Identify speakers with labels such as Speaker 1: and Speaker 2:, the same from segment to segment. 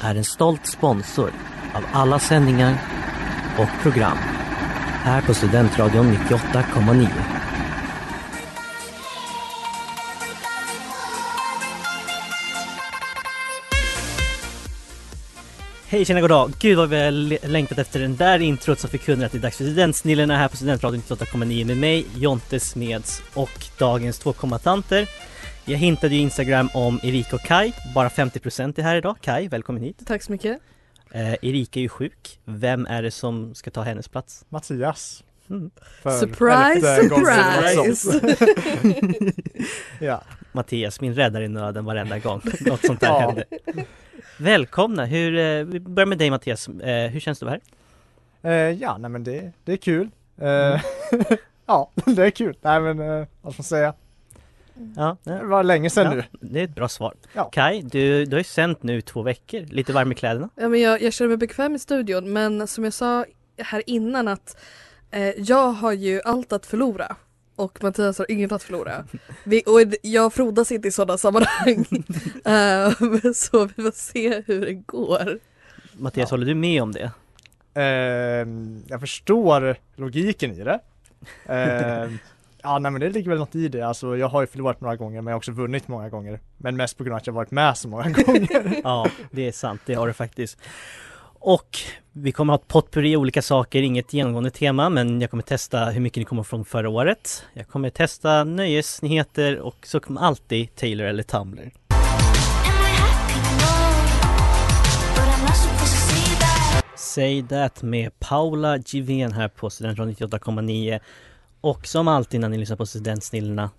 Speaker 1: är en stolt sponsor av alla sändningar och program här på Studentradion 98,9. Hej, tjena, god dag. Gud vad vi har le- längtat efter den där introt som förkunnar att det är dags för Studentsnillena här på Studentradion 98,9 med mig, Jonte Smeds och dagens två kombatanter jag hintade ju Instagram om Erika och Kai, bara 50% är här idag. Kai, välkommen hit.
Speaker 2: Tack så mycket.
Speaker 1: Eh, Erika är ju sjuk, vem är det som ska ta hennes plats?
Speaker 3: Mattias.
Speaker 1: Mm.
Speaker 3: För
Speaker 4: Surprise,
Speaker 3: elfte gången eller något
Speaker 4: surprise!
Speaker 3: sånt. ja.
Speaker 1: Mattias, min räddare i nöden varenda gång något sånt där
Speaker 3: Ja.
Speaker 1: händer. Välkomna! Hur, eh, vi börjar med dig Mattias, eh, hur känns det att vara här?
Speaker 3: Eh, ja, nej men det, det är kul. Eh, ja, det är kul. Nej men, eh, vad ska man säga?
Speaker 1: Ja,
Speaker 3: Det
Speaker 1: ja,
Speaker 3: var länge sedan
Speaker 1: Ja.
Speaker 3: nu.
Speaker 1: det är ett bra svar.
Speaker 3: Ja.
Speaker 1: Kai, du, du har ju sänt nu två veckor, lite varm i kläderna.
Speaker 4: Ja, men jag, jag känner mig bekväm i studion men som jag sa här innan att eh, jag har ju allt att förlora och Mattias har inget att förlora. Vi, och d- jag frodas inte i sådana sammanhang. Ehm, så vi får se hur det går.
Speaker 1: Mattias,
Speaker 3: Ja.
Speaker 1: håller du med om det?
Speaker 3: Eh, jag förstår logiken i det. Eh, ja, nej men det ligger väl något i det. Alltså, jag har ju förlorat några gånger men jag har också vunnit många gånger. Men mest på grund av att jag varit med så många gånger.
Speaker 1: Ja, det är sant, det har du faktiskt. Och vi kommer ha ett potpurri i olika saker, inget genomgående tema, men jag kommer testa hur mycket ni kommer från förra året. Jag kommer testa nöjesnyheter och så kommer alltid Taylor eller Tumblr. Say That med Paula Givén här på Studentradion 98,9 och som alltid när ni lyssnar på Studentsnillena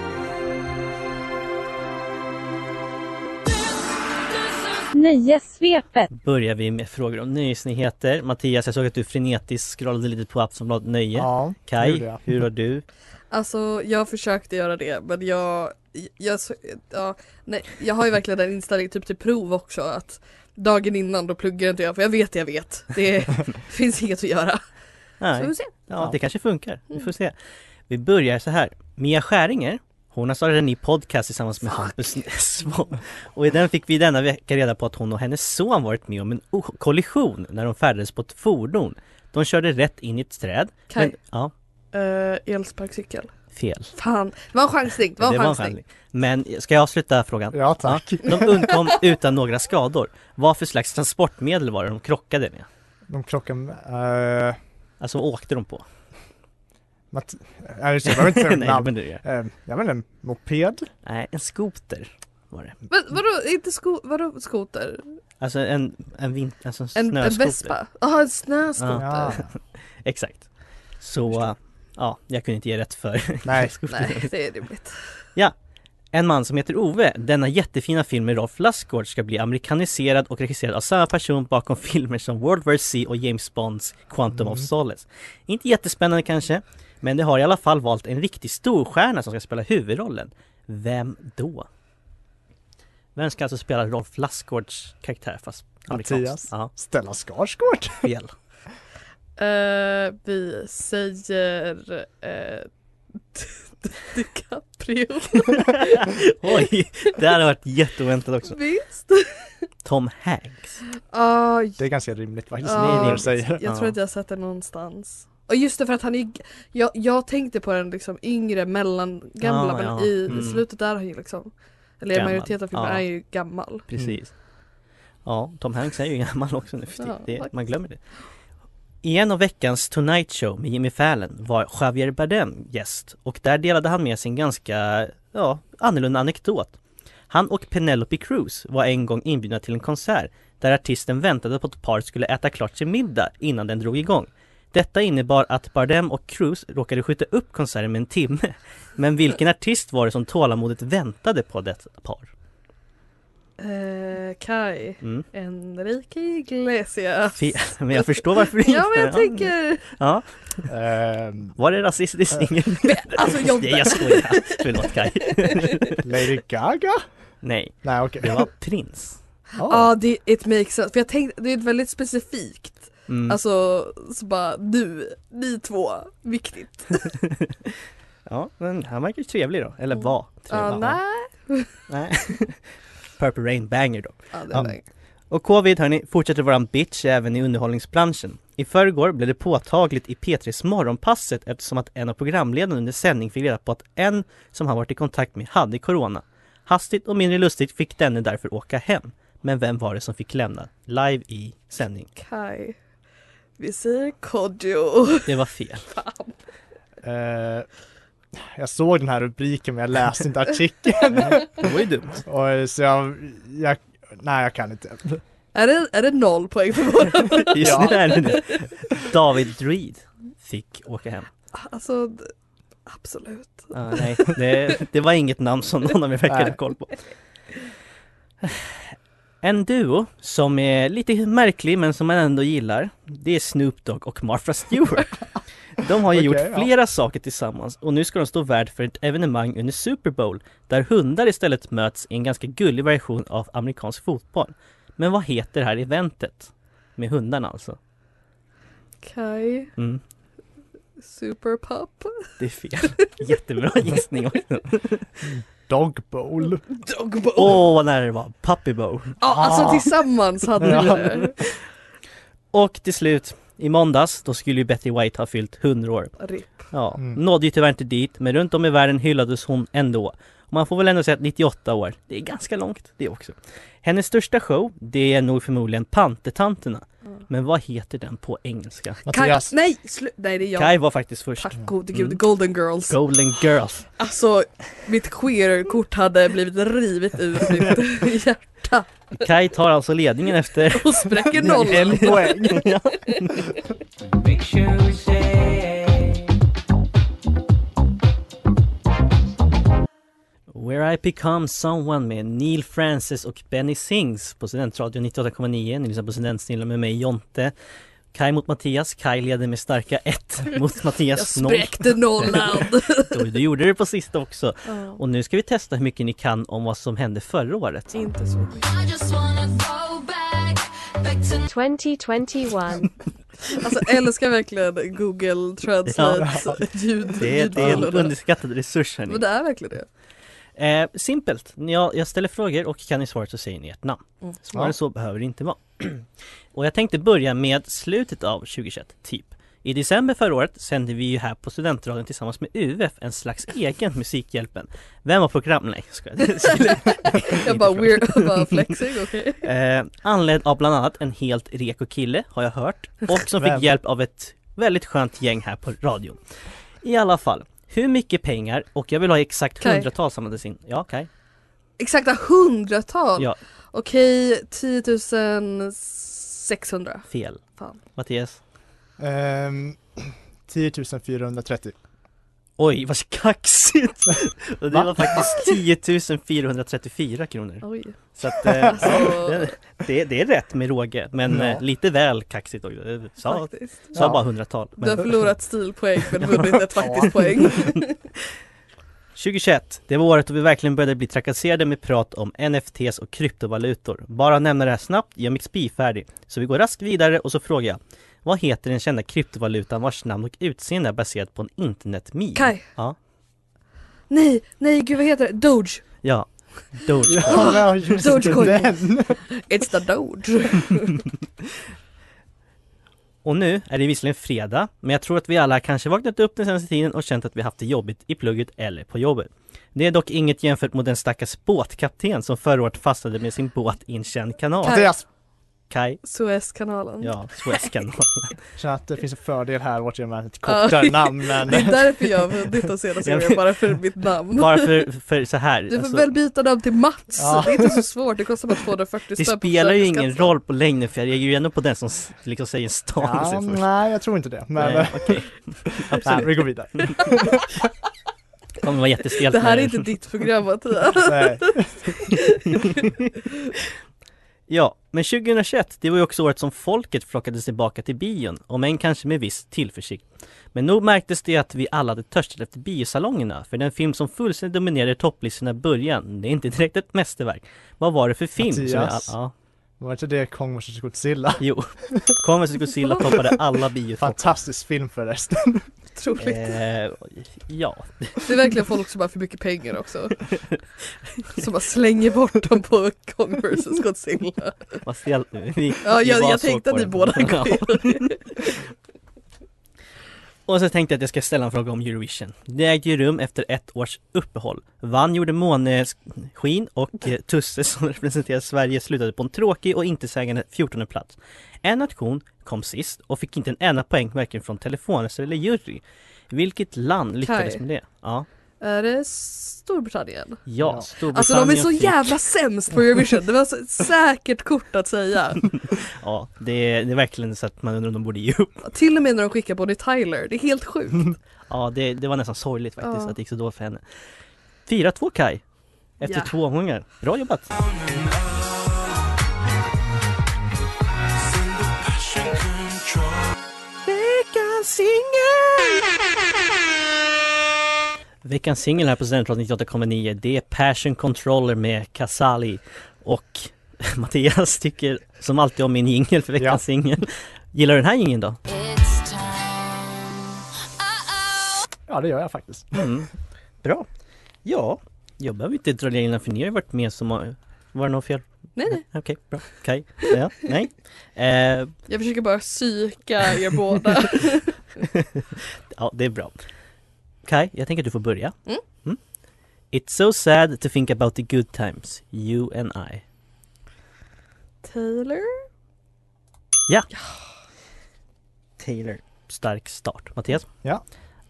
Speaker 5: Nöjessvepet.
Speaker 1: börjar vi med frågor om nöjesnyheter. Mattias, jag såg att du frenetiskt scrollade lite på Aftonbladet Nöje.
Speaker 3: Ja, det gjorde
Speaker 1: Kai,
Speaker 3: jag.
Speaker 1: hur har du?
Speaker 4: Alltså jag försökte göra det men jag, jag, så- ja, nej, jag har ju verkligen den inställningen typ till prov också att dagen innan då pluggar inte jag för jag vet det jag vet. Det finns inget att göra. Så
Speaker 1: Nej.
Speaker 4: vi får se.
Speaker 1: Ja, det kanske funkar. Vi
Speaker 4: Mm.
Speaker 1: får se. Vi börjar så här. Mia Skäringer, hon har startat en ny podcast tillsammans med Hampus Nessvold. Och i den fick vi denna vecka reda på att hon och hennes son varit med om en o- kollision när de färdades på ett fordon. De körde rätt in i ett träd.
Speaker 4: Kaj.
Speaker 1: Men, ja,
Speaker 4: Eh, elsparkcykel.
Speaker 1: fel.
Speaker 4: Fan, det var en chansning. Det var en chansning.
Speaker 1: Men ska jag avsluta frågan?
Speaker 3: ja, tack.
Speaker 1: De undkom utan några skador. Vad för slags transportmedel var det de krockade med?
Speaker 3: De krockar med... Eh,
Speaker 1: Alltså vad åkte de på?
Speaker 3: Matt... Nej, just det, jag behöver inte säga något
Speaker 1: Nej,
Speaker 3: namn.
Speaker 1: men det är-
Speaker 3: Eh, jag vet inte, moped?
Speaker 1: Nej, en skoter var det.
Speaker 4: Men vadå, inte sko vadå skoter?
Speaker 1: Alltså en, en, vin, alltså en
Speaker 4: En, en
Speaker 1: snöskoter.
Speaker 4: vespa? Jaha, en snöskoter.
Speaker 3: Ja.
Speaker 1: Exakt. Så, äh, ja, jag kunde inte ge rätt för
Speaker 3: Nej.
Speaker 4: Nej, det är rimligt.
Speaker 1: En man som heter Ove, denna jättefina film med Rolf Lassgård ska bli amerikaniserad och regisserad av samma person bakom filmer som World War C och James Bonds Quantum
Speaker 3: Mm.
Speaker 1: of Solace. Inte jättespännande kanske, men det har i alla fall valt en riktig storstjärna som ska spela huvudrollen. Vem då? Vem ska alltså spela Rolf Lassgårds karaktär fast amerikanskt?
Speaker 3: Mattias.
Speaker 1: Ja,
Speaker 3: Stellan Skarsgård?
Speaker 1: fel.
Speaker 4: Eh, vi säger eh, DiCaprio.
Speaker 1: Oj, det här har varit jätteoväntat också.
Speaker 4: Visst?
Speaker 1: Tom Hanks.
Speaker 4: Ja,
Speaker 3: Det är ganska rimligt faktiskt,
Speaker 4: Ja.
Speaker 3: när du säger det.
Speaker 4: jag tror att jag har sett det någonstans. Och just det för att han är, jag, jag tänkte på den liksom yngre, mellan, gamla
Speaker 1: Ja,
Speaker 4: men
Speaker 1: ja.
Speaker 4: i,
Speaker 1: Mm.
Speaker 4: i slutet där har han ju liksom, eller i
Speaker 1: Gammal.
Speaker 4: majoriteten av filmen
Speaker 1: Ja.
Speaker 4: är han ju gammal.
Speaker 1: Precis. Ja, Tom Hanks är ju gammal också nu för
Speaker 4: Mm. Ja,
Speaker 1: tiden. det, man
Speaker 4: faktiskt.
Speaker 1: glömmer det. I en av veckans Tonight Show med Jimmy Fallon var Javier Bardem gäst och där delade han med sig en ganska, ja, annorlunda anekdot. Han och Penelope Cruz var en gång inbjudna till en konsert där artisten väntade på att paret skulle äta klart sin middag innan den drog igång. Detta innebar att Bardem och Cruz råkade skjuta upp konserten med en timme. Men vilken artist var det som tålamodigt väntade på detta par?
Speaker 4: Eh, Kai.
Speaker 1: Mm.
Speaker 4: Enrique Iglesias.
Speaker 1: Fe- Men jag förstår varför du
Speaker 4: Ja men jag tänker,
Speaker 1: Ja,
Speaker 3: Ehm,
Speaker 1: var det rasistiskt? Ingen...
Speaker 4: alltså Jonte.
Speaker 1: Nej jag skojar! Förlåt Kaj.
Speaker 3: Lady Gaga?
Speaker 1: Nej,
Speaker 3: Nej okej.
Speaker 1: det var Prins.
Speaker 4: ja det, it makes sense. För jag tänkte, det är ett väldigt specifikt
Speaker 1: Mm.
Speaker 4: Alltså, så bara du, ni två, viktigt.
Speaker 1: Ja, men han verkar ju trevlig då, eller var trevlig.
Speaker 4: Mm. Ja, nej.
Speaker 1: Nej. Purple Rain banger då.
Speaker 4: Ja, det
Speaker 1: Ja.
Speaker 4: är det.
Speaker 1: Och covid hörni, fortsätter vara en bitch även i underhållningsbranschen. I förrgår blev det påtagligt i P3s morgonpasset eftersom att en av programledarna under sändning fick reda på att en som han varit i kontakt med hade corona. Hastigt och mindre lustigt fick denne därför åka hem. Men vem var det som fick lämna live i sändning?
Speaker 4: Kai. Vi säger Kodjo.
Speaker 1: Det var fel.
Speaker 3: Eh, jag såg den här rubriken men jag läste inte artikeln.
Speaker 1: Det var ju dumt.
Speaker 3: Och, eh, så jag, jag, nej jag kan inte.
Speaker 4: Är det, är det noll poäng för våra?
Speaker 1: Just nu är det det. David Druid fick åka hem.
Speaker 4: Alltså, d- absolut.
Speaker 1: Ah, nej, det, det var inget namn som någon av er verkade ha
Speaker 3: Nej.
Speaker 1: koll på. En duo som är lite märklig men som man ändå gillar, det är Snoop Dogg och Martha Stewart. De har ju
Speaker 3: Okej,
Speaker 1: gjort
Speaker 3: ja.
Speaker 1: flera saker tillsammans och nu ska de stå värd för ett evenemang under Super Bowl där hundar istället möts i en ganska gullig version av amerikansk fotboll. Men vad heter det här eventet? Med hundarna alltså.
Speaker 4: Kai,
Speaker 1: Mm,
Speaker 4: Super Pop.
Speaker 1: det är fel. Jättebra gissning också.
Speaker 3: Dog Bowl.
Speaker 4: Dog Bowl. Ja,
Speaker 1: Åh, vad nära det var. Puppy Bowl.
Speaker 4: alltså tillsammans hade vi
Speaker 3: Ja.
Speaker 4: det.
Speaker 1: Och till slut, i måndags, då skulle ju Betty White ha fyllt 100 år.
Speaker 4: RIP.
Speaker 1: Ja,
Speaker 3: Mm.
Speaker 1: nådde ju tyvärr inte dit, men runt om i världen hyllades hon ändå. Och man får väl ändå säga att 98 år, det är ganska långt det också. Hennes största show, det är nog förmodligen Pantetanterna.
Speaker 4: Mm.
Speaker 1: Men vad heter den på engelska?
Speaker 4: Kai,
Speaker 3: Mattias,
Speaker 4: nej, slu- nej det är jag.
Speaker 1: Kai var faktiskt först.
Speaker 4: Tack gode gud,
Speaker 1: Mm.
Speaker 4: Golden Girls.
Speaker 1: Golden Girls.
Speaker 4: Alltså, mitt queer-kort hade blivit rivet ur mitt hjärta
Speaker 1: Kai tar alltså ledningen efter...
Speaker 4: och spräcker nollan.
Speaker 3: en poäng.
Speaker 1: Where I Become Someone med Neil Francis och Benny Sings på Studentradion 98,9. Ni lyssnar på Studentsnillen med mig Jonte. Kai mot Mattias. Kai leder med starka 1 mot
Speaker 4: Jag
Speaker 1: Mattias 0.
Speaker 4: spräckte nollan.
Speaker 1: Du gjorde det på sista också. Och nu ska vi testa hur mycket ni kan om vad som hände förra året.
Speaker 4: Inte så mycket.
Speaker 5: 2021.
Speaker 4: Alltså jag älskar verkligen google translate
Speaker 1: Ja.
Speaker 4: ljud.
Speaker 1: Det är, det är en
Speaker 4: ljuddelarna.
Speaker 1: underskattad resurs hörni.
Speaker 4: Men det är verkligen det.
Speaker 1: Eh, simpelt, jag, jag ställer frågor och kan ni svaret så säger ni ert namn.
Speaker 4: Mm.
Speaker 1: Svårare
Speaker 3: Ja.
Speaker 1: så behöver det inte vara. och jag tänkte börja med slutet av 2021, typ. I december förra året sände vi ju här på Studentradion tillsammans med UF en slags egen Musikhjälpen. Vem var program... Nej, jag skojar. Det skulle-
Speaker 4: Jag bara
Speaker 1: Inte
Speaker 4: weird, jag bara flexing, okej.
Speaker 1: Eh, anledd av bland annat en helt reko kille har jag hört och som
Speaker 3: Vem?
Speaker 1: fick hjälp av ett väldigt skönt gäng här på radion. I alla fall, hur mycket pengar och jag vill ha exakt
Speaker 4: Kaj.
Speaker 1: hundratals samlades in. Ja, Kaj?
Speaker 4: Exakta hundratal!
Speaker 1: Ja.
Speaker 4: Okej, 10 600.
Speaker 1: Fel.
Speaker 4: Fan.
Speaker 1: Mattias?
Speaker 3: Ehm, 10 430.
Speaker 1: Oj, vad kaxigt! Och det var faktiskt 10 434 kronor.
Speaker 4: Oj.
Speaker 1: Så att, eh, ja,
Speaker 4: Alltså-
Speaker 1: det- det, det är rätt med råge, men
Speaker 3: Ja.
Speaker 1: eh, lite väl kaxigt också. Jag Sa,
Speaker 4: Faktiskt.
Speaker 1: sa
Speaker 3: Ja.
Speaker 1: bara hundratal.
Speaker 4: Du
Speaker 1: Men...
Speaker 4: har förlorat stilpoäng men vunnit ett faktiskt poäng.
Speaker 1: 2021, det var året då vi verkligen började bli trakasserade med prat om NFTs och kryptovalutor. Bara nämna det här snabbt, jag är MixPi färdig. Så vi går raskt vidare och så frågar jag, vad heter den kända kryptovalutan vars namn och utseende är baserat på en internetmeme?
Speaker 4: Kai.
Speaker 1: Ja.
Speaker 4: Nej, nej gud vad heter det? Doge!
Speaker 1: Ja, Doge.
Speaker 3: Ja, men just
Speaker 4: Dogecoin.
Speaker 3: den.
Speaker 4: It's the Doge!
Speaker 1: Och nu är det visserligen fredag, men jag tror att vi alla kanske vaknat upp den senaste tiden och känt att vi haft det jobbigt i plugget eller på jobbet. Det är dock inget jämfört mot den stackars båtkapten som förra året fastnade med sin båt i en känd kanal.
Speaker 4: Kai.
Speaker 3: Mattias,
Speaker 1: Kai,
Speaker 4: Suezkanalen.
Speaker 1: ja, Suezkanalen.
Speaker 3: Känner att det finns en fördel här åt att man lite
Speaker 4: Ja.
Speaker 3: kortare namn men
Speaker 4: Det är därför jag har vunnit de senaste
Speaker 1: Ja, men-
Speaker 4: gångerna, bara för mitt namn.
Speaker 1: Bara för, för så här.
Speaker 4: Du får
Speaker 1: alltså,
Speaker 4: väl byta namn till Mats,
Speaker 3: Ja.
Speaker 4: det är inte så svårt, det kostar bara 240
Speaker 1: det
Speaker 4: spänn på
Speaker 1: spelar ju ingen
Speaker 4: Försäkringskassan.
Speaker 1: roll på längden för jag är ju ändå på den som s- liksom säger stan
Speaker 3: ja,
Speaker 1: sig först.
Speaker 3: Nej jag tror inte det
Speaker 1: Nej,
Speaker 3: men nej,
Speaker 1: okej. Absolut.
Speaker 3: vi går vidare
Speaker 1: Det kommer vara jättestelt.
Speaker 4: Det här är
Speaker 1: när-
Speaker 4: inte ditt program Mattias.
Speaker 3: nej.
Speaker 1: Ja, men 2021, det var ju också året som folket flockades tillbaka till bion, om än kanske med viss tillförsikt. Men nog märktes det att vi alla hade törstat efter biosalongerna, för den film som fullständigt dominerade topplistorna i början, det är inte direkt ett mästerverk. Vad var det för film? som vi
Speaker 3: Mattias.
Speaker 1: alla- ja,
Speaker 3: Var inte det Kong vs Godzilla?
Speaker 1: jo. Converse Godzilla toppade alla biotopp.
Speaker 3: Fantastisk film förresten
Speaker 4: Otroligt.
Speaker 1: Eh, ja,
Speaker 4: Det är verkligen folk som har för mycket pengar också. Som bara slänger bort dem på Kong vs Godzilla.
Speaker 1: vad stelt nu. Vi-
Speaker 4: Ja,
Speaker 1: vi
Speaker 4: jag,
Speaker 1: bara
Speaker 4: jag
Speaker 1: såg
Speaker 4: tänkte
Speaker 1: på
Speaker 4: att ni
Speaker 1: den.
Speaker 4: båda
Speaker 1: Ja.
Speaker 4: går in.
Speaker 1: Och så tänkte jag att jag ska ställa en fråga om Eurovision. Det ägde ju rum efter ett års uppehåll. Vann gjorde Måneskin och eh, Tusse som representerar Sverige slutade på en tråkig och intetsägande 14 plats. En nation kom sist och fick inte en enda poäng varken från telefonröster eller jury. Vilket land lyckades
Speaker 4: Kaj.
Speaker 1: med det? Ja,
Speaker 4: Är det Storbritannien?
Speaker 1: ja,
Speaker 3: Ja.
Speaker 4: Alltså de är så
Speaker 1: fick-
Speaker 4: jävla sämst på Eurovision, det var så ett säkert kort att säga.
Speaker 1: Ja, det är, det är verkligen så att man undrar om de borde ge upp.
Speaker 4: Till och med när de skickar Bonnie Tyler, det är helt sjukt.
Speaker 1: Ja, det, det var nästan sorgligt faktiskt
Speaker 4: Ja.
Speaker 1: att det gick så dåligt för henne. 4-2 Kaj, efter
Speaker 4: Ja.
Speaker 1: två omgångar. Bra jobbat! Veckans singel! Veckans singel här på Studentradion 98,9 det är Passion Controller med Casali och Mattias tycker som alltid om min jingel för veckans
Speaker 3: Ja.
Speaker 1: singel. Gillar du den här jingeln då?
Speaker 3: Ja det gör jag faktiskt
Speaker 1: Mm. Bra. Ja, jag behöver inte dra in för ni har ju varit med som har... Var det något fel?
Speaker 4: Nej nej,
Speaker 1: Okej, bra. Kaj? Ja, nej. Eh,
Speaker 4: jag försöker bara psyka er båda.
Speaker 1: ja, det är bra. Kaj, jag tänker att du får börja.
Speaker 4: Mm.
Speaker 1: It's so sad to think about the good times, you and I.
Speaker 4: Taylor?
Speaker 1: Taylor. Stark start. Mattias?
Speaker 3: Ja.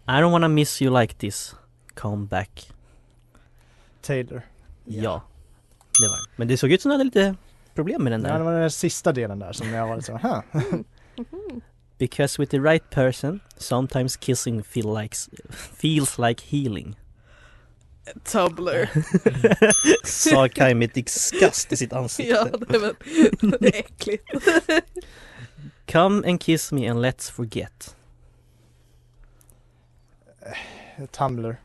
Speaker 1: I don't wanna miss you like this. Come back.
Speaker 3: Taylor
Speaker 1: Ja. Det var det. Men det såg ut som du hade lite problem med den där.
Speaker 3: Ja det var den sista delen där som jag var liksom, lite så här.
Speaker 1: Because with the right person, sometimes kissing feel like, feels like healing.
Speaker 4: Tumblr.
Speaker 1: Sa Kaj med disgust i sitt
Speaker 4: Ja, det var, det är äckligt.
Speaker 1: Come and kiss me and let's forget.
Speaker 3: Tumblr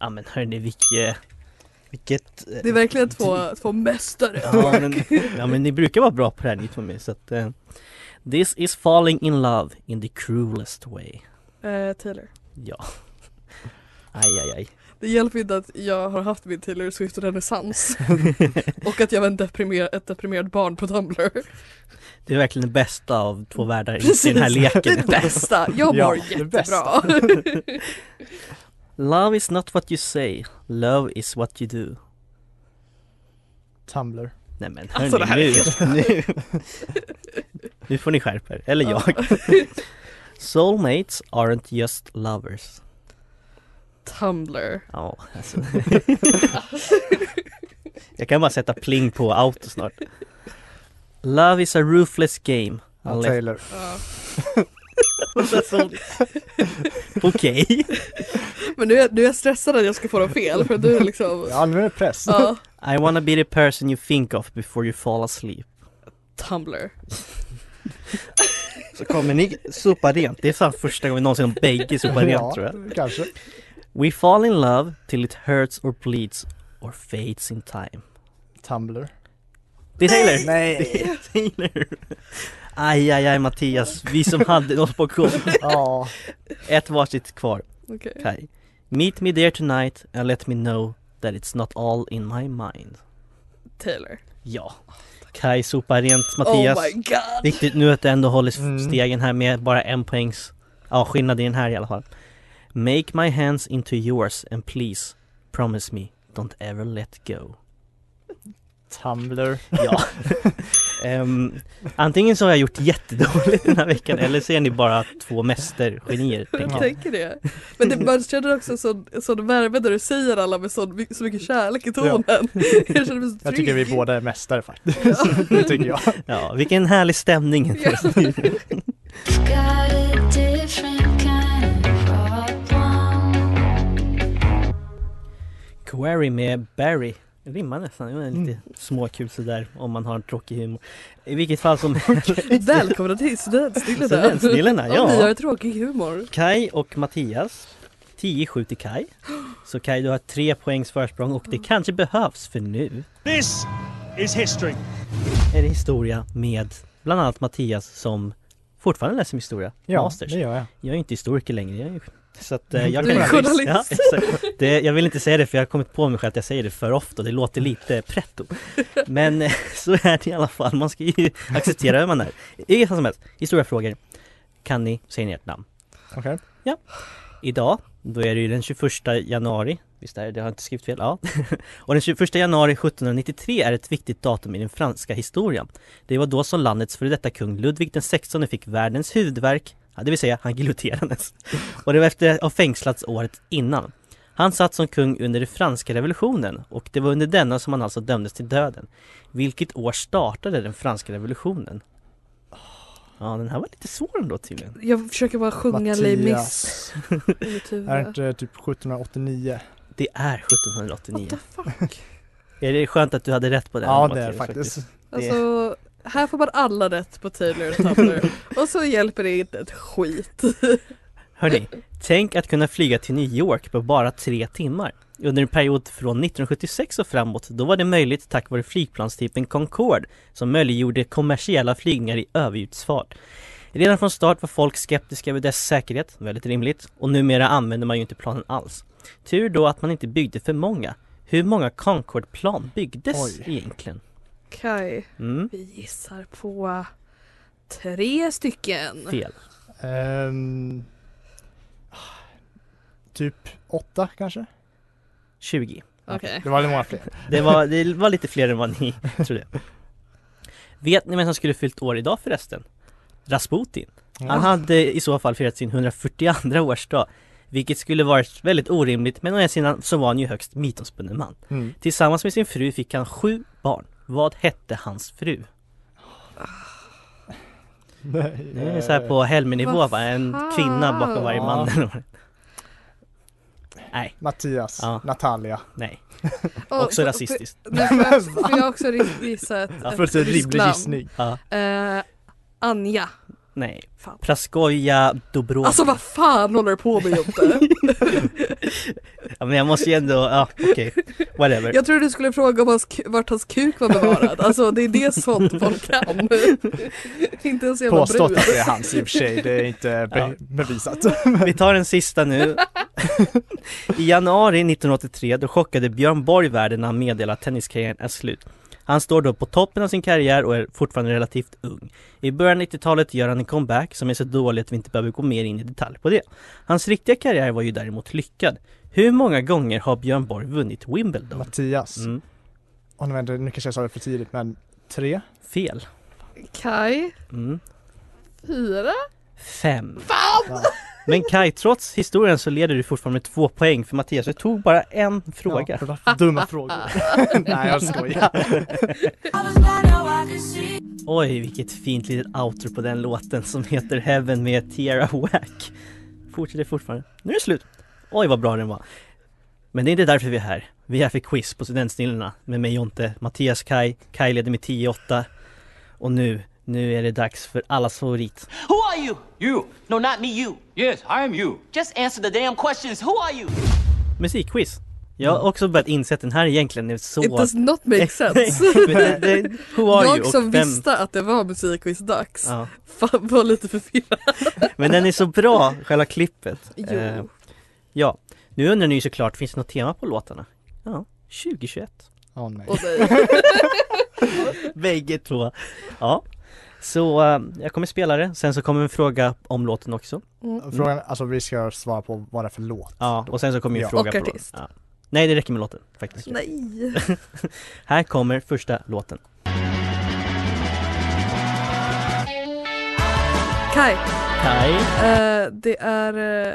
Speaker 1: Ja men hörni vilket... Vilket... eh,
Speaker 4: Det är verkligen två, två mästare.
Speaker 1: ja, men, ja men ni brukar vara bra på det här ni två med så att... eh, this is falling in love in the cruelest way.
Speaker 4: Eh, Taylor.
Speaker 1: Ja. Aj aj aj.
Speaker 4: Det hjälper inte att jag har haft min Taylor Swift-renässans. och att jag var en deprimer- ett deprimerat barn på Tumblr.
Speaker 1: Det är verkligen det bästa av två världar i den här leken.
Speaker 4: Det bästa! Jag
Speaker 3: Ja,
Speaker 4: mår
Speaker 3: det
Speaker 4: jättebra.
Speaker 3: bästa.
Speaker 1: Love is not what you say, love is what you do.
Speaker 3: Tumblr
Speaker 1: Nej men hörni,
Speaker 4: Alltså, det här
Speaker 1: nu, nu, nu får ni skärpa er, eller jag. Soulmates aren't just lovers.
Speaker 4: Tumblr.
Speaker 1: Ja, alltså. jag kan bara sätta pling på auto snart. Love is a ruthless game.
Speaker 3: ja,
Speaker 1: unless-
Speaker 3: Taylor
Speaker 4: Ja.
Speaker 1: Okej.
Speaker 4: Men nu är, nu är jag stressad att jag ska få dem fel för du är liksom...
Speaker 3: Ja nu är det press
Speaker 4: Ja,
Speaker 1: I wanna be the person you think of before you fall asleep.
Speaker 4: Tumblr.
Speaker 1: Så kommer ni sopa rent. Det är fan första gången någonsin de bägge sopar rent
Speaker 3: ja,
Speaker 1: tror jag.
Speaker 3: kanske
Speaker 1: We fall in love till it hurts or bleeds or fades in time.
Speaker 3: Tumblr
Speaker 1: Det är Taylor!
Speaker 3: Nej!
Speaker 1: Taylor. Aj, aj, aj Mattias, vi som hade något på gång.
Speaker 3: Ja,
Speaker 1: Ett varsitt kvar,
Speaker 4: Okej.
Speaker 1: Kaj. Meet me there tonight and let me know that it's not all in my mind.
Speaker 4: Taylor.
Speaker 1: Ja. Kaj sopar rent Mattias.
Speaker 4: Oh my god.
Speaker 1: Viktigt nu att du ändå håller s-
Speaker 3: Mm.
Speaker 1: stegen här med bara en poängs ja, skillnad i den här i alla fall. Make my hands into yours and please promise me don't ever let go.
Speaker 3: Tumblr
Speaker 1: Ja. Ehm, antingen så har jag gjort jättedåligt den här veckan eller så är ni bara två mästergenier. tänker
Speaker 4: Jag
Speaker 1: jag.
Speaker 4: tänker det. Men det, man känner också sån, sån värme när du säger alla med sån, my- så mycket kärlek i tonen. Jag känner mig så trygg.
Speaker 3: Jag tycker vi båda är mästare faktiskt. det tycker jag.
Speaker 1: Ja, vilken härlig stämning.
Speaker 5: Got a different kind of problem.
Speaker 1: Query med Barry. Det rimmar nästan, det är lite småkul sådär om man har tråkig humor. I vilket fall som
Speaker 4: Välkomna till studentsnillena.
Speaker 1: Studentsnillena, ja.
Speaker 4: Om ni har tråkig humor.
Speaker 1: Kai och Mattias 10-7 till Kai. Så Kai du har tre poängs försprång och det kanske behövs för nu
Speaker 6: This is history.
Speaker 1: är det historia med bland annat Mattias som fortfarande läser om historia,
Speaker 3: Ja,
Speaker 1: masters.
Speaker 3: det gör jag.
Speaker 1: Jag är inte historiker längre, jag är ju- så att eh, jag
Speaker 4: Du är
Speaker 1: kan-
Speaker 4: journalist.
Speaker 1: Ja, exakt. det, jag vill inte säga det för jag har kommit på mig själv att jag säger det för ofta, det låter lite pretto. Men eh, så är det i alla fall, man ska ju acceptera hur man är. I vilket fall som helst, historiefrågor kan ni, säger ni ert namn.
Speaker 3: Okej.
Speaker 1: Idag, då är det ju den 21 januari Visst är det, det har jag inte skrivit fel? Ja. och den 21 januari 1793 är ett viktigt datum i den franska historien. Det var då som landets före detta kung Ludvig den 16 fick världens huvudvärk, ja, det vill säga han giljotinerades. och det var efter att ha fängslats året innan. Han satt som kung under den franska revolutionen och det var under denna som han alltså dömdes till döden. Vilket år startade den franska revolutionen? Ja, den här var lite svår ändå tydligen.
Speaker 4: Jag försöker bara sjunga Les Mis
Speaker 3: Mattias.
Speaker 4: i mitt huvud.
Speaker 3: Är det inte typ 1789?
Speaker 1: Det är
Speaker 4: What
Speaker 1: 1789.
Speaker 4: the fuck?
Speaker 1: Är det skönt att du hade rätt på den?
Speaker 3: Ja det
Speaker 1: Mattias,
Speaker 3: är det faktiskt.
Speaker 4: Alltså, här får man alla rätt på Taylor och Tumblr. Och så hjälper det inte ett skit.
Speaker 1: Hörni, tänk att kunna flyga till New York på bara tre timmar. Under en period från 1976 och framåt, då var det möjligt tack vare flygplanstypen Concorde som möjliggjorde kommersiella flygningar i överljudsfart. Redan från start var folk skeptiska över dess säkerhet, väldigt rimligt, och numera använder man ju inte planen alls. Tur då att man inte byggde för många. Hur många Concorde-plan byggdes
Speaker 3: Oj.
Speaker 1: egentligen?
Speaker 4: Okej,
Speaker 1: Mm,
Speaker 4: vi gissar på tre stycken.
Speaker 1: fel.
Speaker 3: Ehm, typ åtta kanske?
Speaker 1: 20.
Speaker 4: Okej.
Speaker 3: Det var lite många fler.
Speaker 1: Det var, det var lite fler än vad ni trodde. Vet ni vem som skulle fyllt år idag förresten? Rasputin.
Speaker 3: Mm.
Speaker 1: Han hade i så fall firat sin 142 årsdag, vilket skulle varit väldigt orimligt, men å ena sidan så var han ju högst mytomspunnen man.
Speaker 3: Mm.
Speaker 1: Tillsammans med sin fru fick han sju barn. Vad hette hans fru?
Speaker 3: Nej,
Speaker 1: Det är
Speaker 3: eh,
Speaker 1: så här på Helmer-nivå
Speaker 4: Vad
Speaker 1: va? En
Speaker 4: fan?
Speaker 1: kvinna bakom varje man. Nej,
Speaker 3: Mattias,
Speaker 1: Ja.
Speaker 3: Natalia.
Speaker 1: nej.
Speaker 4: Och-
Speaker 1: Också
Speaker 4: för-
Speaker 1: rasistiskt.
Speaker 4: för- Nej, får jag också- får jag också ris- gissa ett, ett
Speaker 3: Fullt en
Speaker 4: ryskt
Speaker 3: rimlig
Speaker 4: namn?
Speaker 3: gissning.
Speaker 1: Ja,
Speaker 4: Eh, Anja.
Speaker 1: nej.
Speaker 4: Fan.
Speaker 1: Praskoja Dobrova.
Speaker 4: Alltså vad fan håller du på med Jonte?
Speaker 1: Ja, men jag måste ju ändå, ja okej. Whatever.
Speaker 4: Jag trodde du skulle fråga om hans, ku- vart hans kuk var bevarad. Alltså det är det sånt folk kan. Inte ens jävla
Speaker 3: Påstått
Speaker 4: brud.
Speaker 3: att det är hans i och för sig, det är inte be-
Speaker 1: Ja.
Speaker 3: bevisat.
Speaker 1: Vi tar den sista nu. I januari 1983 då chockade Björn Borg världen när han meddelade att tenniskarriären är slut. Han står då på toppen av sin karriär och är fortfarande relativt ung. I början av 90-talet gör han en comeback som är så dålig att vi inte behöver gå mer in i detalj på det. Hans riktiga karriär var ju däremot lyckad. Hur många gånger har Björn Borg vunnit Wimbledon?
Speaker 3: Mattias,
Speaker 1: Mm,
Speaker 3: oh, nej, nu kanske jag sa det för tidigt men tre?
Speaker 1: fel.
Speaker 4: Kai,
Speaker 1: Mm,
Speaker 4: fyra?
Speaker 1: fem. Men Kai, trots historien så leder du fortfarande med två poäng för Mattias, du tog bara en fråga.
Speaker 3: Ja, för- dumma frågor. nej jag skojar.
Speaker 5: I was blind, now I can see.
Speaker 1: Oj, vilket fint litet outro på den låten som heter Heaven med Tierra Whack. Fortsätter fortfarande. Nu är det slut! Oj, vad bra den var. Men det är inte därför vi är här. Vi är här för quiz på Studentsnillena med mig Jonte, Mattias Kai. Kai leder med 10-8. Och nu, nu är det dags för allas favorit.
Speaker 7: Who are you? You. No, not me, you. Yes, I am you. Just answer the damn questions. Who are you?
Speaker 1: Musikquiz! Jag har också börjat inse att den här egentligen är så...
Speaker 4: It does not make sense.
Speaker 1: Men det- det- Who are you?
Speaker 4: Jag
Speaker 1: Och
Speaker 4: som
Speaker 1: vem-
Speaker 4: visste att det var musikquiz-dags
Speaker 1: Ja.
Speaker 4: fan, var lite förvirrad.
Speaker 1: Men den är så bra, själva klippet.
Speaker 4: Jo.
Speaker 1: Eh, ja, nu undrar ni ju såklart, finns det något tema på låtarna? Ja, 2021.
Speaker 3: Åh nej.
Speaker 4: Och dig.
Speaker 3: Eh.
Speaker 1: Bägge två. Ja, så eh, jag kommer spela det, sen så kommer en fråga om låten också.
Speaker 3: Frågan, alltså vi ska svara på vad det är för låt.
Speaker 1: Ja, och sen så kommer ju
Speaker 3: Ja.
Speaker 1: fråga
Speaker 4: Och
Speaker 1: på
Speaker 4: artist.
Speaker 1: låten. Ja. Nej, det räcker med låten faktiskt.
Speaker 4: Nej.
Speaker 1: Här kommer första låten.
Speaker 4: Kai.
Speaker 1: Kai.
Speaker 4: Eh, det är, eh,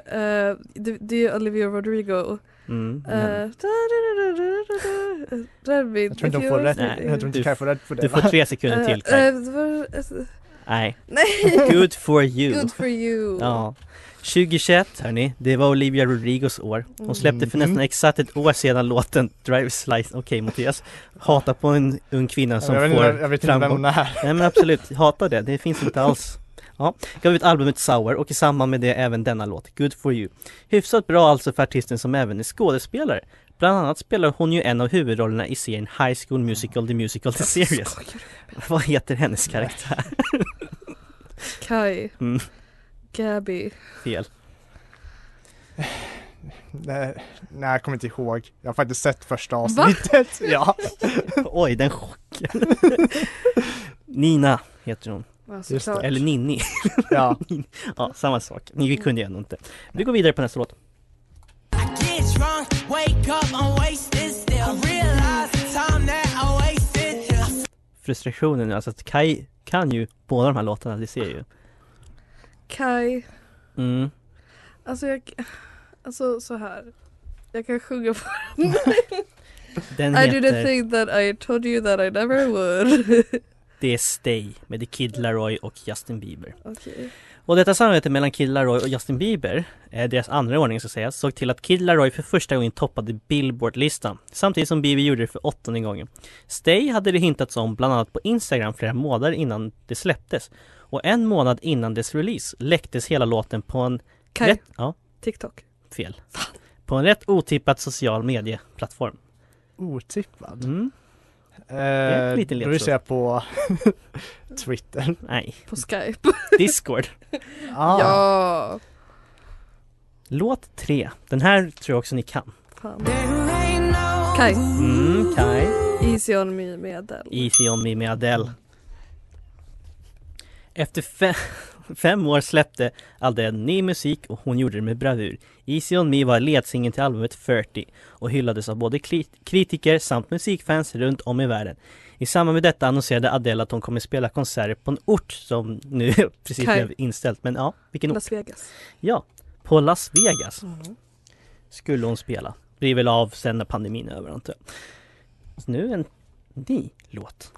Speaker 4: eh, det, det är Olivia Rodrigo.
Speaker 1: Mm.
Speaker 4: Eh, da-da-da-da-da-da-da. Rabbit,
Speaker 3: Jag tror inte
Speaker 4: if
Speaker 3: hon
Speaker 4: you
Speaker 3: får
Speaker 4: are
Speaker 3: rätt.
Speaker 1: Nej,
Speaker 4: sitting-
Speaker 3: Jag tror inte
Speaker 1: du-
Speaker 3: Kaj får rätt för det.
Speaker 1: Du får
Speaker 3: va?
Speaker 1: tre sekunder till
Speaker 4: Eh,
Speaker 1: Kai.
Speaker 4: eh, det var-
Speaker 1: Nej.
Speaker 4: Nej!
Speaker 1: Good for you.
Speaker 4: Good for you!
Speaker 1: Ja. 2021 hörni, det var Olivia Rodrigos år. Hon släppte för
Speaker 3: Mhm.
Speaker 1: nästan exakt ett år sedan låten Drive Slice, okej Mattias, hata på en ung kvinna som
Speaker 3: jag vet,
Speaker 1: får
Speaker 3: inte, jag vet inte vem
Speaker 1: framgång.
Speaker 3: hon är.
Speaker 1: Nej men absolut, hata det, det finns inte alls. Ja, gav ut albumet Sour och i samband med det även denna låt, Good For You. Hyfsat bra alltså för artisten som även är skådespelare. Bland annat spelar hon ju en av huvudrollerna i serien High School Musical The Musical The Series. Vad heter hennes karaktär?
Speaker 4: Kai.
Speaker 1: Mm.
Speaker 4: Gabby.
Speaker 1: Fel.
Speaker 3: Nej, nej, jag kommer inte ihåg. Jag har faktiskt sett första avsnittet. Ja.
Speaker 1: Oj, den chocken. Nina heter hon.
Speaker 4: Ja,
Speaker 3: Just det.
Speaker 4: såklart.
Speaker 1: Eller Ninni.
Speaker 3: ja.
Speaker 1: Ja, samma sak. Ni vi kunde ju ändå inte. Vi går vidare på nästa låt.
Speaker 8: get drunk, wake up, I'm wasted still. I realize the time that I wasted. Yeah.
Speaker 1: Frustrationen, alltså att Kai kan ju båda de här låtarna, det ser jag ju.
Speaker 4: Kai.
Speaker 1: Mm.
Speaker 4: Alltså jag... Alltså så här. Jag kan sjunga på
Speaker 1: Den
Speaker 4: I did a
Speaker 1: heter
Speaker 4: thing that I told you that I never would.
Speaker 1: Det är Stay med The Kid Laroi och Justin Bieber.
Speaker 4: Okej.
Speaker 1: Och detta samarbete mellan Kid Laroi och Justin Bieber, eh, deras andra ordning ska sägas, såg till att Kid Laroi för första gången toppade Billboard-listan, samtidigt som Bieber gjorde det för åttonde gången. Stay hade det hintats om bland annat på Instagram flera månader innan det släpptes. Och en månad innan dess release läcktes hela låten på en
Speaker 4: Kai.
Speaker 1: rätt... Ja,
Speaker 4: TikTok.
Speaker 1: fel. På en rätt otippad social medieplattform.
Speaker 3: Otippad.
Speaker 1: Mm,
Speaker 3: Eh,
Speaker 1: en liten
Speaker 3: då
Speaker 1: ledtråd.
Speaker 3: gissar jag på Twitter.
Speaker 1: nej.
Speaker 4: På Skype.
Speaker 1: Discord.
Speaker 3: Ah.
Speaker 4: Ja.
Speaker 1: Låt tre. Den här tror jag också ni kan.
Speaker 4: Fan. Kai.
Speaker 1: Mm, Kai.
Speaker 4: Easy on me med Adele.
Speaker 1: Easy on me med Adele. Efter fe- fem år släppte Adele ny musik och hon gjorde det med bravur. Easy on me var ledsingeln till albumet 30 och hyllades av både kli- kritiker samt musikfans runt om i världen. I samband med detta annonserade Adele att hon kommer spela konserter på en ort som nu precis
Speaker 4: Kaj.
Speaker 1: blev inställt. Men ja, vilken ort?
Speaker 4: Las Vegas.
Speaker 1: Ja, på Las Vegas skulle hon spela. Blir väl av sen när pandemin är över antar jag. Så nu en ny låt.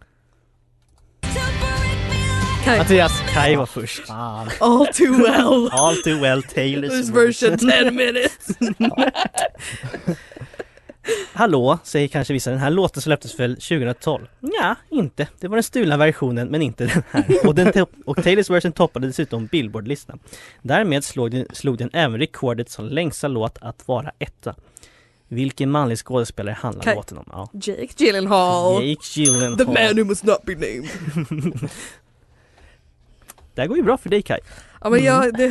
Speaker 4: Kai.
Speaker 1: Alltså-
Speaker 3: Mattias.
Speaker 1: Kai var först.
Speaker 3: Fan.
Speaker 4: All too well.
Speaker 1: All too well Taylors
Speaker 4: This version 10 minutes.
Speaker 1: Hallå, säger kanske vissa. Den här låten släpptes väl 2012? Nja, inte. Det var den stulna versionen, men inte den här. Och, den topp- och Taylors version toppade dessutom Billboard-listan. Därmed slog den, slog den även rekordet som längsta låt att vara etta. Vilken manlig skådespelare handlar
Speaker 4: Kaj.
Speaker 1: låten om? Ja.
Speaker 4: Jake Gyllenhaal.
Speaker 1: Jake Gyllenhaal.
Speaker 4: The man who must not be named.
Speaker 1: Det här går ju bra för dig Kai.
Speaker 4: Ja men jag, det,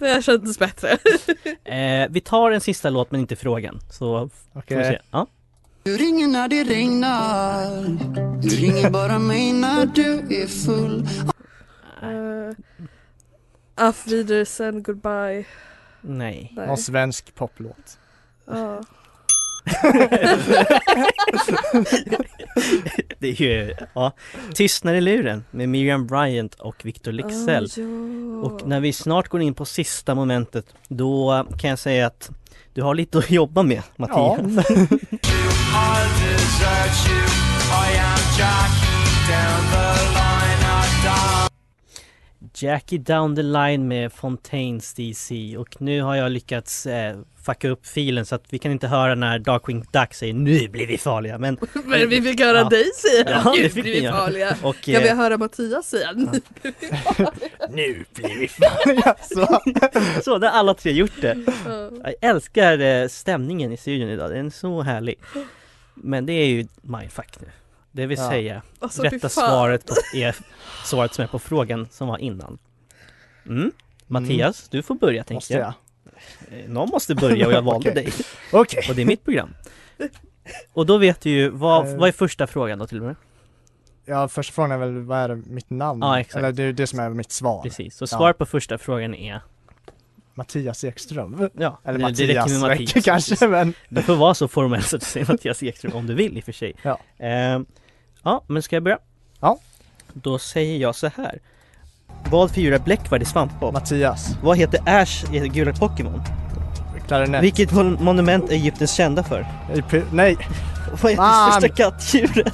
Speaker 4: det här kändes bättre.
Speaker 1: Eh, vi tar en sista låt men inte frågan. Så får vi
Speaker 3: Okej.
Speaker 1: se. Ja.
Speaker 9: Du ringer när det regnar Du ringer bara mig när du är full
Speaker 4: Uh, Auf Wiedersehen, goodbye.
Speaker 1: Nej.
Speaker 4: Nej.
Speaker 3: Någon svensk poplåt.
Speaker 4: Ja.
Speaker 1: Det är ju, ja. Tystnad i luren med Miriam Bryant och Victor Leksell.
Speaker 4: Ah, ja.
Speaker 1: Och när vi snart går in på sista momentet, då kan jag säga att du har lite att jobba med Mattias.
Speaker 8: I'll desert you. I am Jackie down the line. I die.
Speaker 1: Jackie Down the Line med Fontaines DC och nu har jag lyckats eh, fucka upp filen så att vi kan inte höra när Darkwing Duck säger nu blir vi farliga men
Speaker 4: Men vi fick höra
Speaker 1: Ja.
Speaker 4: dig säga
Speaker 1: Ja, det
Speaker 4: Gud,
Speaker 1: fick
Speaker 4: vi
Speaker 1: ni
Speaker 4: är
Speaker 1: göra.
Speaker 4: farliga.
Speaker 1: och
Speaker 4: Kan vi
Speaker 1: eh,
Speaker 4: höra Mattias säga nu?
Speaker 1: nu blir vi
Speaker 3: Så.
Speaker 1: Så, där har alla tre gjort det. Jag älskar eh, stämningen i studion idag, den är så härlig. Men det är ju mindfuck nu. Det vill
Speaker 3: Ja.
Speaker 1: säga,
Speaker 4: Alltså, fy
Speaker 1: rätta
Speaker 4: fan.
Speaker 1: svaret är svaret som är på frågan som var innan. Mm. Mattias, du får börja tänker
Speaker 3: Måste jag?
Speaker 1: jag. Eh, Någon måste börja och jag valde
Speaker 3: Okej.
Speaker 1: dig.
Speaker 3: Okej.
Speaker 1: Och det är mitt program. Och då vet du ju, vad,
Speaker 3: Eh.
Speaker 1: vad är första frågan då till och med?
Speaker 3: Ja, första frågan är väl vad är det, mitt namn?
Speaker 1: Ja, exakt.
Speaker 3: Eller det är ju det som är mitt svar.
Speaker 1: Precis, så
Speaker 3: Ja.
Speaker 1: svar på första frågan är
Speaker 3: Mattias Ekström.
Speaker 1: Ja, det- det
Speaker 3: Eller Mattias
Speaker 1: med
Speaker 3: räcker kanske men
Speaker 1: Du får vara så formell så att du säger Mattias Ekström om du vill i och för sig.
Speaker 3: Ja.
Speaker 1: Ehm, ja, men ska jag börja?
Speaker 3: Ja.
Speaker 1: Då säger jag så här. Vad för djur är bläckvärd i svampbob?
Speaker 3: Mattias,
Speaker 1: Vad heter Ash i gula Pokémon?
Speaker 3: klarinett.
Speaker 1: Vilket mon- monument är Egypten kända för?
Speaker 3: I py- nej,
Speaker 1: Vad är det
Speaker 3: Fan!
Speaker 1: största kattdjuret?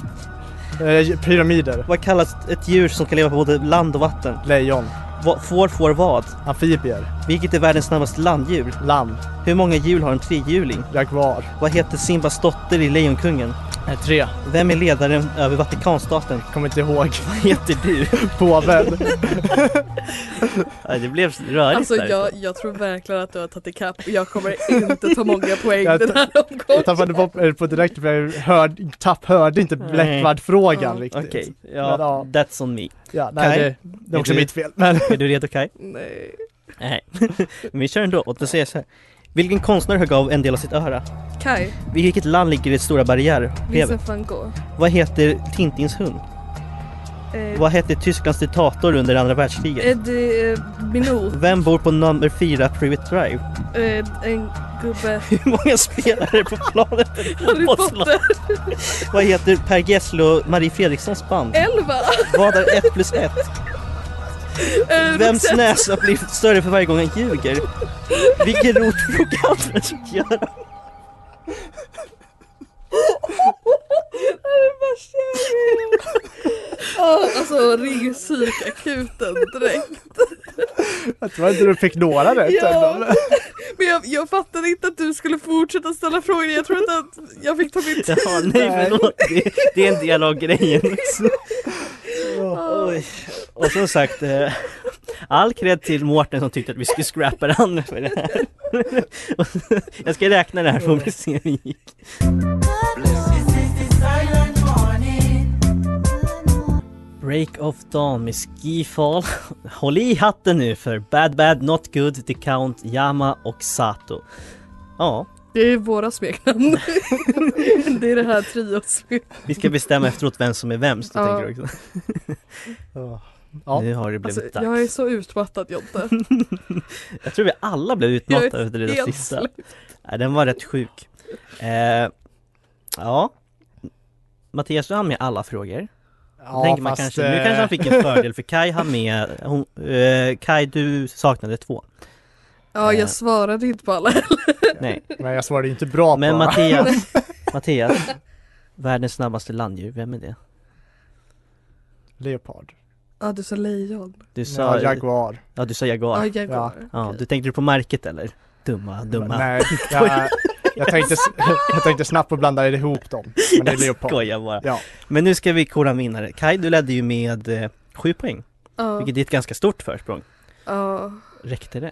Speaker 3: eh, pyramider.
Speaker 1: Vad kallas ett djur som kan leva på både land och vatten?
Speaker 3: Lejon.
Speaker 1: Vad, får får vad?
Speaker 3: Amfibier.
Speaker 1: Vilket är världens snabbaste landdjur?
Speaker 3: Lamm.
Speaker 1: Hur många hjul har en trehjuling?
Speaker 3: Jaguar.
Speaker 1: Vad heter Simbas dotter i Lejonkungen?
Speaker 3: Eh, tre.
Speaker 1: Vem är ledaren över Vatikanstaten?
Speaker 3: Kommer inte ihåg.
Speaker 1: Vad heter du?
Speaker 3: Påven.
Speaker 1: Ja, det blev rörigt
Speaker 4: Alltså
Speaker 1: där.
Speaker 4: jag, jag tror verkligen att du har tagit ikapp jag kommer inte ta många poäng
Speaker 3: Jag
Speaker 4: den här omgången.
Speaker 3: Jag tappade på, eh, på direkt för jag hörde, tapp, hörde inte Bläckvärd-frågan riktigt.
Speaker 1: Okej, ja,
Speaker 3: Men, ja.
Speaker 1: that's on me.
Speaker 3: Ja,
Speaker 1: Kaj?
Speaker 3: nej, det, det är också
Speaker 1: Är du-
Speaker 3: mitt fel. Men
Speaker 1: Är du redo Kai?
Speaker 4: Nej.
Speaker 1: Nej. Men vi kör ändå, och då säger jag så här. Vilken konstnär högg av en del av sitt öra?
Speaker 4: Kaj,
Speaker 1: I vilket land ligger det stora barriärrevet?
Speaker 4: Vincent van Gogh.
Speaker 1: Vad heter Tintins hund?
Speaker 4: Eh,
Speaker 1: Vad hette Tysklands diktator under andra världskriget?
Speaker 4: Eddie eh, Minou.
Speaker 1: Vem bor på nummer 4 Privet Drive?
Speaker 4: Eh, en gubbe.
Speaker 1: Hur många spelare på planet?
Speaker 4: Harry Potter.
Speaker 1: Vad heter Per Gessle och Marie Fredrikssons band?
Speaker 4: Elva.
Speaker 1: Vad är 1 plus 1?
Speaker 4: Eh,
Speaker 1: Vems
Speaker 4: Roxette.
Speaker 1: näsa blir större för varje gång han ljuger? Vilken rot drog Alfred att göra?
Speaker 4: Ja, alltså ring psykakuten direkt.
Speaker 3: jag tror inte du fick några rätt
Speaker 4: Ja.
Speaker 3: ändå.
Speaker 4: Men jag, jag fattade inte att du skulle fortsätta ställa frågor. Jag tror inte att jag fick ta min tid.
Speaker 1: Ja, nej förlåt, det, det är en del av grejen. också. Oj. Och som sagt, eh, all cred till Mårten som tyckte att vi skulle scrappa den för det här. Jag ska räkna det här för att se hur det gick. Break of Dawn med Skifall. Håll i hatten nu för Bad Bad Not Good, The Count, Yama och Sato. Ja,
Speaker 4: Det är våra smeknamn. Det är det här trios.
Speaker 1: vi ska bestämma efteråt vem som är vems.
Speaker 4: Ja.
Speaker 1: Ja. Tänker du också.
Speaker 3: Ja.
Speaker 1: Nu har det
Speaker 4: Alltså,
Speaker 1: blivit dags.
Speaker 4: jag är så utmattad Jonte.
Speaker 1: Jag tror vi alla blev
Speaker 4: Jag är
Speaker 1: utmattade efter det där
Speaker 4: helt
Speaker 1: sista. Nej, den var rätt sjuk. Eh, ja. Mattias, du hann med alla frågor.
Speaker 3: Ja,
Speaker 1: Tänker man
Speaker 3: fast,
Speaker 1: kanske, nu
Speaker 3: eh,
Speaker 1: kanske han fick en fördel för Kai hann med, hon, eh, Kai du saknade två.
Speaker 4: Ja,
Speaker 1: Eh.
Speaker 4: jag svarade inte på alla.
Speaker 1: Nej.
Speaker 3: Men jag svarade inte bra
Speaker 1: Men
Speaker 3: på
Speaker 1: Mattias, Mattias, världens snabbaste landdjur, vem är det?
Speaker 3: leopard.
Speaker 4: Ja, du sa lejon.
Speaker 1: Du
Speaker 3: Ja,
Speaker 1: sa,
Speaker 3: jaguar.
Speaker 1: ja, du sa
Speaker 4: Ja,
Speaker 1: jaguar.
Speaker 4: jaguar.
Speaker 1: Ja, du tänkte du på märket eller? Dumma, dumma.
Speaker 3: Nej, jag, jag, tänkte, jag tänkte snabbt och blanda ihop dem. Men det är
Speaker 1: Jag
Speaker 3: leopard.
Speaker 1: skojar bara.
Speaker 3: Ja.
Speaker 1: Men nu ska vi kora en vinnare. Kai, du ledde ju med eh, sju poäng,
Speaker 4: Ja,
Speaker 1: vilket är ett ganska stort försprång.
Speaker 4: ja.
Speaker 1: Räckte det?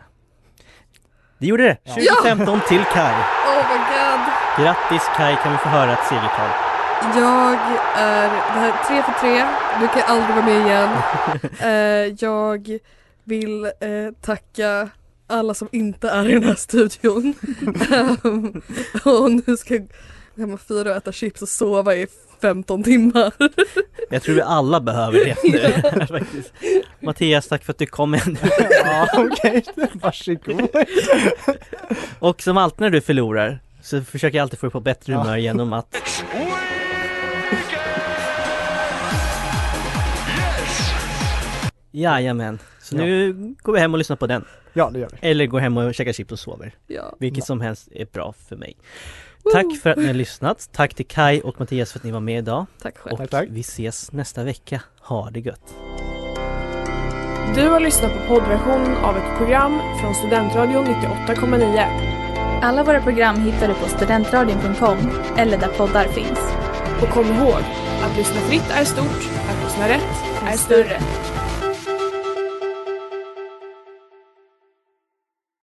Speaker 1: Det gjorde det!
Speaker 3: Ja.
Speaker 1: 2015 till Kai.
Speaker 4: Oh my god.
Speaker 1: Grattis Kai kan vi få höra ett segertal.
Speaker 4: Jag är, det här är tre för tre, du kan aldrig vara med igen. Eh, jag vill eh, tacka alla som inte är i den här studion. Ehm, och nu ska jag gå hem och fira och äta chips och sova i 15 timmar.
Speaker 1: Jag tror vi alla behöver det nu faktiskt. Mattias, tack för att du kom in.
Speaker 3: Ja, okej. Varsågod.
Speaker 1: Och som alltid när du förlorar så försöker jag alltid få dig på bättre humör genom att Jajamän, så nu går vi hem och lyssnar på den.
Speaker 3: Ja, det gör vi.
Speaker 1: Eller går hem och käkar chips och sover.
Speaker 4: Ja.
Speaker 1: Vilket som helst är bra för mig. Tack för att ni har lyssnat. Tack till Kai och Mattias för att ni var med idag.
Speaker 4: Tack själv.
Speaker 1: Och
Speaker 3: Tack, tack.
Speaker 1: vi ses nästa vecka. Ha det gött!
Speaker 2: Du har lyssnat på poddversionen av ett program från Studentradion 98,9.
Speaker 10: Alla våra program hittar du på studentradion.com eller där poddar finns.
Speaker 2: Och kom ihåg, att lyssna fritt är stort, att lyssna rätt är större.